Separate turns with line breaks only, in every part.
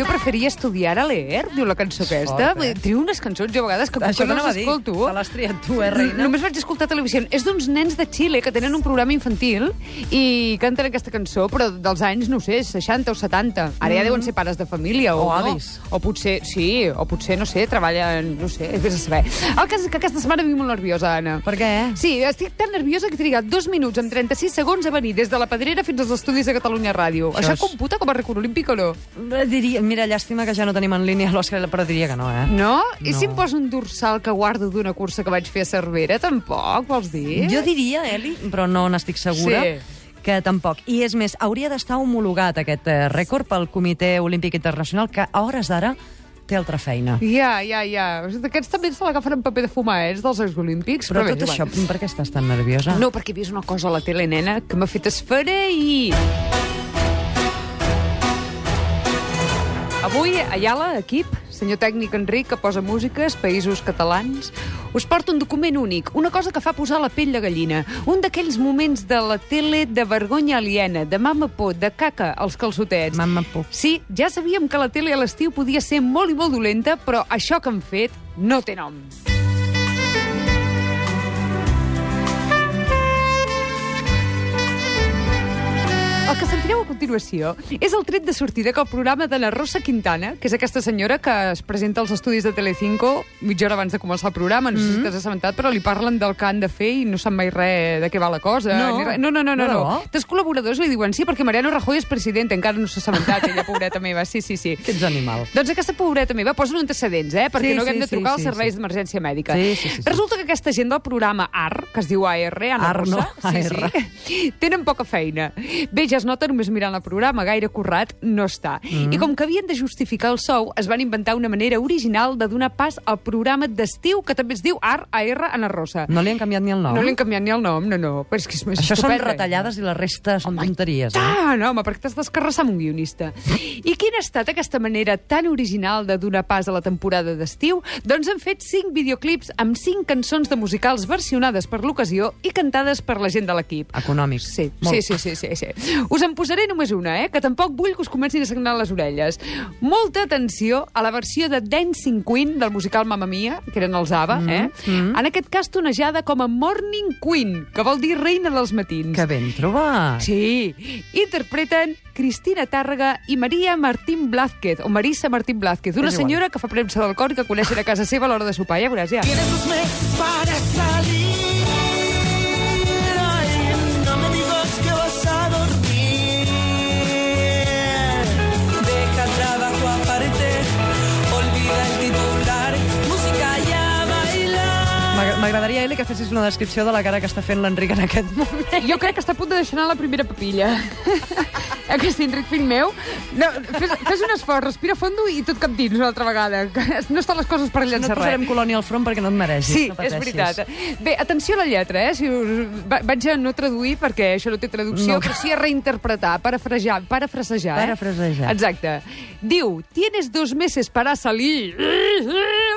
m'agradaria estudiar a l'ER, diu la cançó
És fort,
aquesta.
eh?
Fort, Trio unes cançons, jo a vegades que
Això
potser no
t'anava a
les
dir.
escolto.
Te l'has triat tu, eh, reina?
Només vaig escoltar televisió. És d'uns nens de Xile que tenen un programa infantil i canten aquesta cançó, però dels anys, no ho sé, 60 o 70. Ara ja deuen ser pares de família o,
Mm. O
no.
avis.
O potser, sí, o potser, no sé, treballen, no sé, vés a saber. El cas és que aquesta setmana vinc molt nerviosa, Anna.
Per què?
Sí, estic tan nerviosa que he trigat dos minuts amb 36 segons a venir des de la Pedrera fins als estudis de Catalunya Ràdio.
Això
Això,
és-
computa com a record olímpic o no?
Diria, mira, llàstima que ja no tenim en línia l'Òscar, però diria que no, eh?
No? I
No.
si em poso un dorsal que guardo d'una cursa que vaig fer a Cervera, tampoc, vols dir?
Jo diria, Eli, però no n'estic segura,
Sí.
que tampoc. I és més, hauria d'estar homologat aquest eh, rècord pel Comitè Olímpic Internacional, que a hores d'ara té altra feina.
Ja, ja, ja. Aquests també se l'agafen en paper de fumar, eh, els dels Jocs Olímpics.
Però
bé,
tot
és
això,
igual.
per què estàs tan nerviosa?
No, perquè he vist una cosa a la tele, nena, que m'ha fet esfereir. Avui, Ayala, equip, senyor tècnic Enric, que posa músiques, països catalans, us porta un document únic, una cosa que fa posar la pell de gallina, un d'aquells moments de la tele de vergonya aliena, de mama por, de caca, als calçotets.
Mama por.
Sí, ja sabíem que la tele a l'estiu podia ser molt i molt dolenta, però això que han fet no té nom. El que sentireu a continuació és el tret de sortida que el programa de la Rosa Quintana, que és aquesta senyora que es presenta als estudis de Telecinco mitja hora abans de començar el programa, no sé
Mm.
si t'has assabentat, però li parlen del que han de fer i no sap mai res de què va la cosa.
No.
ni res. no, no, no, no,
De
no.
debò?
Tres col·laboradors li diuen sí, perquè Mariano Rajoy és president, encara no s'ha assabentat, ella, pobreta meva, sí, sí, sí.
Que ets animal.
Doncs aquesta pobreta meva, posen antecedents, eh? Perquè
Sí,
no
sí,
haguem de
sí,
trucar
sí,
als serveis
sí.
d'emergència mèdica.
Sí, sí, sí, sí.
Resulta que aquesta gent del programa AR, que es diu AR, Anna
AR,
Rosa,
no,
sí, sí, tenen poca feina. Bé, ja es nota només mirant el programa, gaire currat no està.
Mm.
I com que havien de justificar el sou, es van inventar una manera original de donar pas al programa d'estiu, que també es diu AR, AR, Anna Rosa.
No li han canviat ni el nom?
No li han canviat ni el nom, no, no. Però és que és més
Això són
estupenda.
retallades i la resta són tonteries, eh?
Tant, home, perquè t'has d'escarrassar amb un guionista. I quina ha estat aquesta manera tan original de donar pas a la temporada d'estiu? Doncs han fet cinc videoclips amb cinc cançons de musicals versionades per l'ocasió i cantades per la gent de l'equip.
Econòmics.
Sí,
Molt.
sí, sí, sí, sí, sí. Us en posaré només una, eh? que tampoc vull que us comencin a sagnar les orelles. Molta atenció a la versió de Dancing Queen del musical Mamma Mia, que eren els ABBA, eh? en aquest cas tonejada com a Morning Queen, que vol dir reina dels matins.
Que ben
Ah.
trobat.
Sí, interpreten Cristina Tàrrega i Maria Martín Blázquez, o Marisa Martín Blázquez, una
És igual.
senyora que fa premsa del cor i que coneixen a casa seva a l'hora de sopar, ja veuràs, ja.
Tienes dos meses para salir. Ay, no me digas que vas a dormir. Deja trabajo aparte. Olvida el titular. Música y a bailar.
M'ag- M'agradaria, Eli, que fessis una descripció de la cara que està fent l'Enric en aquest moment.
Jo crec que està a punt de deixar anar la primera papilla. Eh que sí, Enric, fill meu? No, fes, fes un esforç, respira fondo i tot cap dins una altra vegada. que No estan les coses per
No et
llançar
posarem colònia al front perquè no et mereixis.
Sí,
no
és
pateixis.
veritat. Bé, atenció a la lletra, eh? Si us... va- Vaig a no traduir, perquè això no té traducció, no.
No.
però sí a reinterpretar, parafrasejar, parafrasejar. eh?
Parafrasejar.
Exacte. Diu, tienes dos meses para salir...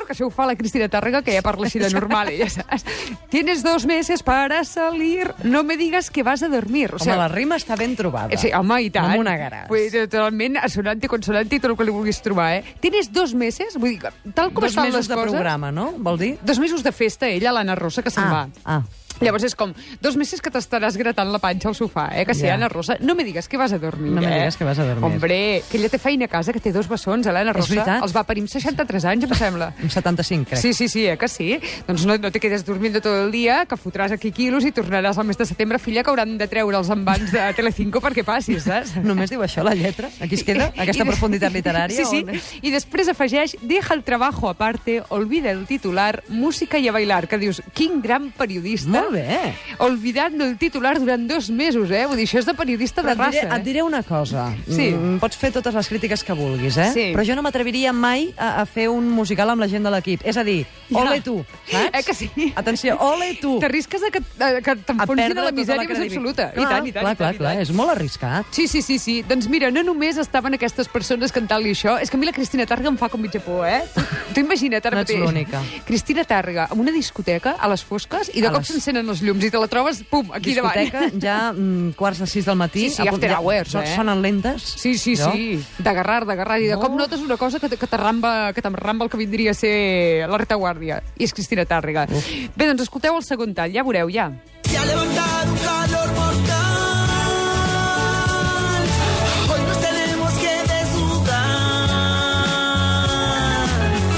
Que això ho fa la Cristina Tàrrega, que ja parla així de normal, ella, saps? Tienes dos meses para salir... No me digas que vas a dormir. O eh,
Home, la rima està ben trobada.
Sí, home, i tant.
No m'ho negaràs.
Vull dir, totalment assonant i consonant i tot el que li vulguis trobar, eh? Tienes dos meses? Vull dir, tal com
Dos
estan
mesos
les
de
coses...
programa, no? Vol dir?
Dos mesos de festa, ella, l'Anna Rosa, que se'n
Ah,
va.
ah.
Llavors és com, dos meses que t'estaràs gratant la panxa al sofà, eh? Que si,
Ja.
Anna Rosa, no me digues que vas a dormir,
No me
eh?
digues que vas a dormir.
Hombre, que ella té feina a casa, que té dos bessons, eh, l'Anna
És
Rosa.
veritat.
Els va parir amb 63 anys, em sembla.
Un 75, crec.
Sí, sí, sí, eh, que sí. Doncs no, no te quedes dormint de tot el dia, que fotràs aquí quilos i tornaràs al mes de setembre, filla, que hauran de treure els envans de Telecinco perquè passis, saps?
Només diu això, la lletra? Aquí es queda, aquesta
I de-
profunditat literària?
Sí, sí.
on és?
I després afegeix, deja el trabajo aparte, olvida el titular, música i a bailar, que dius, quin gran periodista.
Molt bé.
Olvidant el titular durant dos mesos, eh? Vull dir, això és de periodista de
Però et diré,
raça. eh?
et diré una cosa.
Sí.
Mm, pots fer totes les crítiques que vulguis, eh?
Sí.
Però jo no m'atreviria mai a, a fer un musical amb la gent de l'equip. És a dir,
Ja.
ole tu, saps?
Eh que sí?
Atensió, ole tu.
T'arrisques a que, a que
A
t'enfonsin a
perdre
la
tota
misèria més
credibilitat.
absoluta. I
Clar,
tant, i tant,
Clar,
i tant,
clar,
i
clar,
tant.
és molt arriscat.
Sí, sí, sí, sí. Doncs mira, no només estaven aquestes persones cantant-li això, és que a mi la Cristina Targa em fa com mitja por, eh? Tu- Tu imagina't ara
No ets
mateix.
l'única.
Cristina Targa, en una discoteca, a les fosques, i de
A
cop
les-
s'encén s'encenen els llums i te la trobes, pum, aquí
discoteca,
davant.
ja mm, quarts de sis del matí.
Sí, sí,
a punt-
after
ja-
hours,
so-
eh?
Sonen lentes.
Sí, sí,
allò.
sí, d'agarrar, d'agarrar, i de cop notes una cosa que, t- que t'arramba que t'arramba el que vindria a ser la retaguàrdia. I és Cristina Tàrrega. Bé, doncs escolteu el segon tall, ja veureu, ja.
Se ha levantado un calor mortal. Hoy nos tenemos que desnudar.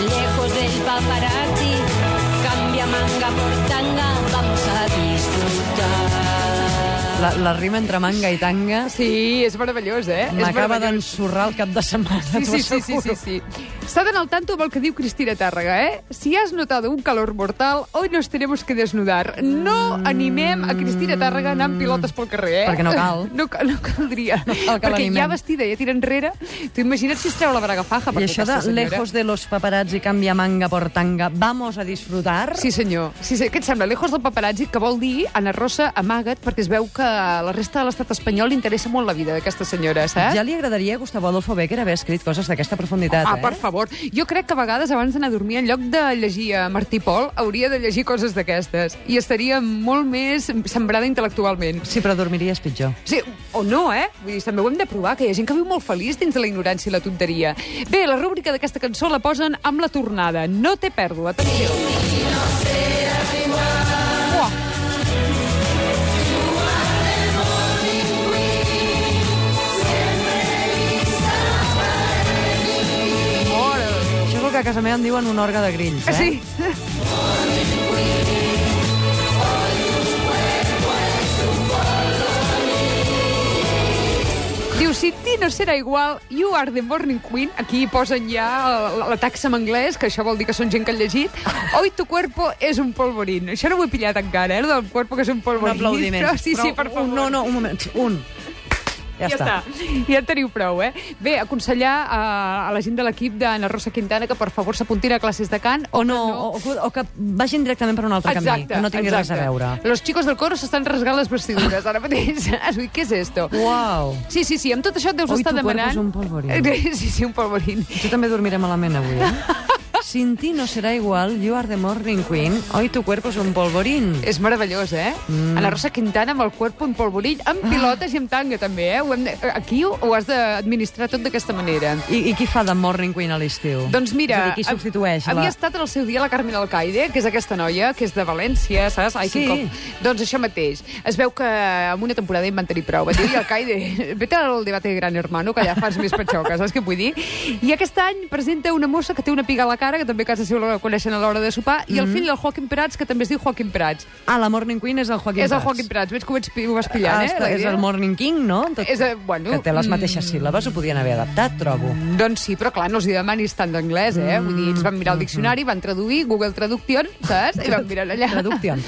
Lejos del paparazzi, cambia manga por tanga, vamos a disfrutar.
La, la rima entre manga i tanga
Sí, és meravellós, eh? És
m'acaba
meravellós.
d'ensorrar el cap de setmana,
Sí,
t'ho
sí, sí, sí,
asseguro.
sí, sí. S'ha d'anar al tanto amb el que diu Cristina Tàrrega, eh? Si has notado un calor mortal, hoy nos tenemos que desnudar. No animem a Cristina Tàrrega anant pilotes pel carrer, eh?
Mm. Perquè no cal.
No, ca- no caldria. No
cal que
perquè
l'animem.
ja vestida, ja tira enrere. Tu imagina't si es treu la braga faja.
I
perquè
això de
aquesta senyora-
lejos de los paparazzi canvia manga por tanga, vamos a disfrutar.
Sí, senyor. Sí, sí. Què et sembla? Lejos del paparazzi, que vol dir, Ana Rosa, amaga't, perquè es veu que a la resta de l'estat espanyol li interessa molt la vida d'aquesta senyora, saps?
Ja li agradaria a Gustavo Adolfo Becker haver escrit coses d'aquesta profunditat,
Ah,
eh?
per favor. Jo crec que a vegades abans d'anar a dormir, en lloc de llegir a Martí Pol, hauria de llegir coses d'aquestes. I estaria molt més sembrada intel·lectualment.
Sí, però dormiries pitjor.
Sí, o no, eh? Vull dir, també ho hem de provar, que hi ha gent que viu molt feliç dins de la ignorància i la tonteria. Bé, la rúbrica d'aquesta cançó la posen amb la tornada. No té pèrdua, atenció. Uah. Mare de
Això és el que a casa meva em diuen un orgue de grills, eh?
Ah, Sí. Diu, si ti no serà igual, you are the morning queen. Aquí hi posen ja la, la taxa en anglès, que això vol dir que són gent que han llegit. Hoy tu cuerpo és un polvorín. Això no ho he pillat encara, eh, lo del cuerpo que és un
Un
polvorín.
aplaudiment.
Però, sí, sí,
Però
per favor.
Un, no, no, un moment. Un. Ja,
Ja està. Ja en teniu prou, eh? Bé, aconsellar a, a la gent de l'equip d'Anna Rosa Quintana que, per favor, s'apuntin a classes de cant
O no, o, o, o que vagin directament per un altre camí, que no tingui res a veure.
Los chicos del coro s'estan rasgant les vestidures ara mateix. Saps? Vull dir, Què és esto?
Uau.
Sí, sí, sí, amb tot això et deus
Oi,
estar
tu cuerpo
demanant...
és un polvorín.
Sí, sí, un polvorín.
Jo també dormiré malament avui, eh? Sin ti no serà igual, you are the morning queen, hoy tu cuerpo es un polvorín.
És meravellós, eh? Mm. Ana Rosa Quintana amb el cuerpo en polvorín, amb
Ah.
pilotes i amb tanga, també, eh? Ho hem de... Aquí ho, ho has d'administrar tot d'aquesta manera.
I, I qui fa de morning queen a l'estiu?
Doncs mira,
És a dir, qui substitueix?
havia
la...
estat en el seu dia la Carmen Alcaide, que és aquesta noia, que és de València, saps? Ai, quin
Sí.
cop. Doncs això mateix. Es veu que en una temporada hi van tenir prou. Van dir, "Ei, Alcaide, vete al debate de Gran Hermano, que allà fas més patxoca, saps què vull dir? I aquest any presenta una mossa que té una piga a la cara, que també a casa seu la coneixen a l'hora de sopar, i
Mm.
el fill del Joaquim Prats, que també es diu Joaquim Prats.
Ah, la morning queen és el Joaquim
és el
Prats.
Joaquim Prats, veig que ho, ets, ho vas pillant,
Ah,
eh?
està,
la
és
idea?
el morning king, no? Tot...
És, eh, bueno,
Que té les
mm.
mateixes síl·labes, ho podien haver adaptat, trobo.
Doncs sí, però clar, no els hi demanis tant d'anglès, eh? Vull dir, ells van mirar el
Mm,
diccionari, van traduir, Google Traducción, saps? I van mirar allà.
Traducción.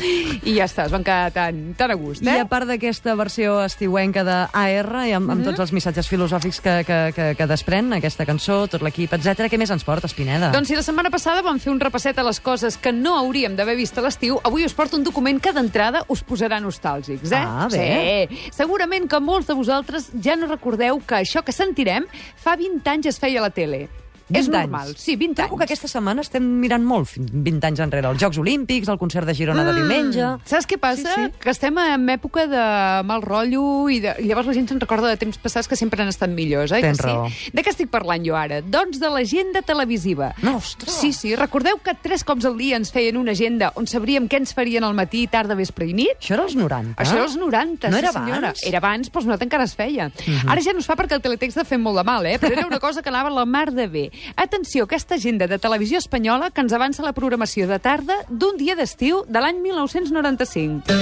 I ja està, es van quedar tan, tan a gust,
I
eh?
a part d'aquesta versió estiuenca d'AR, i amb, amb tots els missatges filosòfics que, que, que, que desprèn aquesta cançó, tot l'equip, etc. què més ens porta, Espineda?
Doncs si la setmana passada vam fer un repasset a les coses que no hauríem d'haver vist a l'estiu, avui us porto un document que d'entrada us posarà nostàlgics, eh?
Ah, bé.
Sí. Segurament que molts de vosaltres ja no recordeu que això que sentirem fa 20 anys es feia a la tele.
20
És
anys.
normal. Sí, 20 anys.
Trobo que aquesta setmana estem mirant molt fi- 20 anys enrere. Els Jocs Olímpics, el concert de Girona de diumenge...
Saps què passa?
Sí,
Sí,
sí.
sí. Que estem en època de mal rotllo i de... i llavors la gent se'n recorda de temps passats que sempre han estat millors, oi?
Tens
que
raó.
sí? De què estic parlant jo ara? Doncs de l'agenda televisiva.
No, ostres!
Sí, sí. Recordeu que tres cops al dia ens feien una agenda on sabríem què ens farien al matí, tarda, vespre i nit?
Això era els 90.
Això era als 90,
Ah? No era
sí, senyora.
abans? Mhm.
Era abans, però als 90 encara es feia. Ara ja no es fa perquè el teletext ha fet molt de mal, eh? Però era una cosa que anava la mar de bé. Atenció, aquesta agenda de televisió espanyola que ens avança la programació de tarda d'un dia d'estiu de l'any 1995.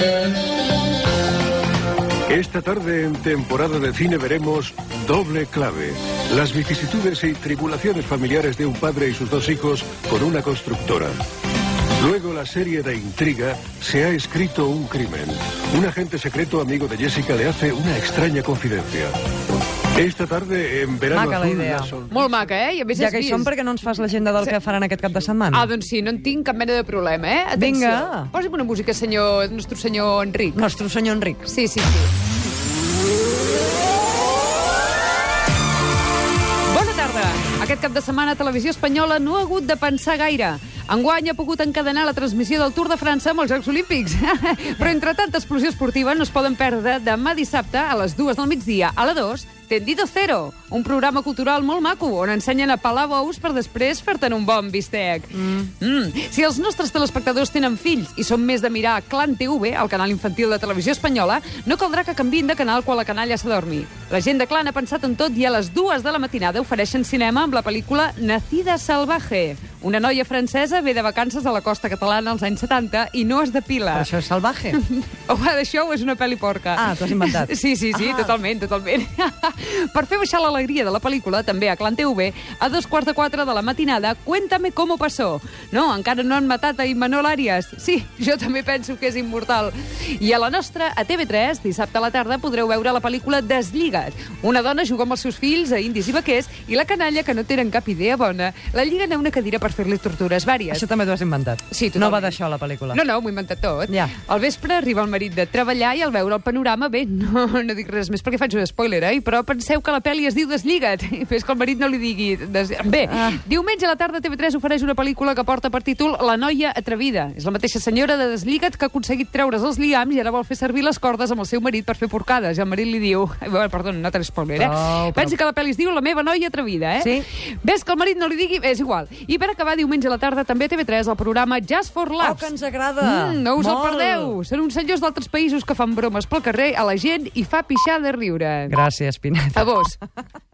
Esta tarde en temporada de cine veremos Doble Clave, las vicisitudes y tribulaciones familiares de un padre y sus dos hijos con una constructora. Luego la serie de intriga se ha escrito un crimen. Un agente secreto amigo de Jessica le hace una extraña confidencia. Esta tarde en verano
Maca la
azul,
idea.
la sonrisa-
Molt maca, eh? I a més
Ja
és
que hi som,
vist.
perquè no ens fas l'agenda del que faran aquest cap de setmana?
Ah, doncs sí, no en tinc cap mena de problema, eh? Atenció.
Vinga.
Posi'm una música, senyor, nostre senyor Enric.
Nostre senyor Enric.
Sí, sí, sí. Bona tarda. Aquest cap de setmana Televisió Espanyola no ha hagut de pensar gaire. Enguany ha pogut encadenar la transmissió del Tour de França amb els Jocs Olímpics. Però entre tanta explosió esportiva no es poden perdre demà dissabte a les dues del migdia a la 2 Tendido Cero, un programa cultural molt maco on ensenyen a pelar bous per després fer-te'n un bon bistec. Mm. Mm. Si els nostres telespectadors tenen fills i són més de mirar Clan TV, el canal infantil de televisió espanyola, no caldrà que canvin de canal quan la canalla s'adormi. La gent de Clan ha pensat en tot i a les dues de la matinada ofereixen cinema amb la pel·lícula Nacida Salvaje. Una noia francesa ve de vacances a la costa catalana als anys 70 i no es depila.
Però això és salvaje.
Home, d'això és una pel·li porca.
Ah, t'ho has inventat.
Sí, sí, sí, ah. totalment, totalment. per fer baixar l'alegria de la pel·lícula, també a Clan TV, a dos quarts de quatre de la matinada, Cuéntame cómo pasó. No, encara no han matat a Imanol Arias. Sí, jo també penso que és immortal. I a la nostra, a TV3, dissabte a la tarda, podreu veure la pel·lícula Deslligat. Una dona juga amb els seus fills a indis i vaquers i la canalla, que no tenen cap idea bona, la lliguen a una cadira per fer-li tortures vàries.
Això també t'ho has inventat.
Sí, totalment.
no va d'això, la pel·lícula.
No, no, m'ho he inventat tot.
Ja.
Al vespre arriba el marit de treballar i al veure el panorama, bé, no, no dic res més perquè faig un spoiler, eh? però penseu que la pel·li es diu Deslliga't, i fes que el marit no li digui... Des... Bé, ah. diumenge a la tarda TV3 ofereix una pel·lícula que porta per títol La noia atrevida. És la mateixa senyora de Deslliga't que ha aconseguit treure's els liams i ara vol fer servir les cordes amb el seu marit per fer porcades. I el marit li diu... Eh, bé, Perdó, no te spoiler, eh?
Prou, prou.
Pensa que la pel·li es diu La meva noia atrevida, eh?
Oh, Sí.
Ves que el marit no li digui... És igual. I per acabar diumenge a la tarda també a TV3 el programa Jazz for
Oh,
Laughs.
que ens agrada!
Mm, no us el
Molt.
perdeu. Són uns senyors d'altres països que fan bromes pel carrer a la gent i fa pixar de riure.
Gràcies, Pineda.
A vos.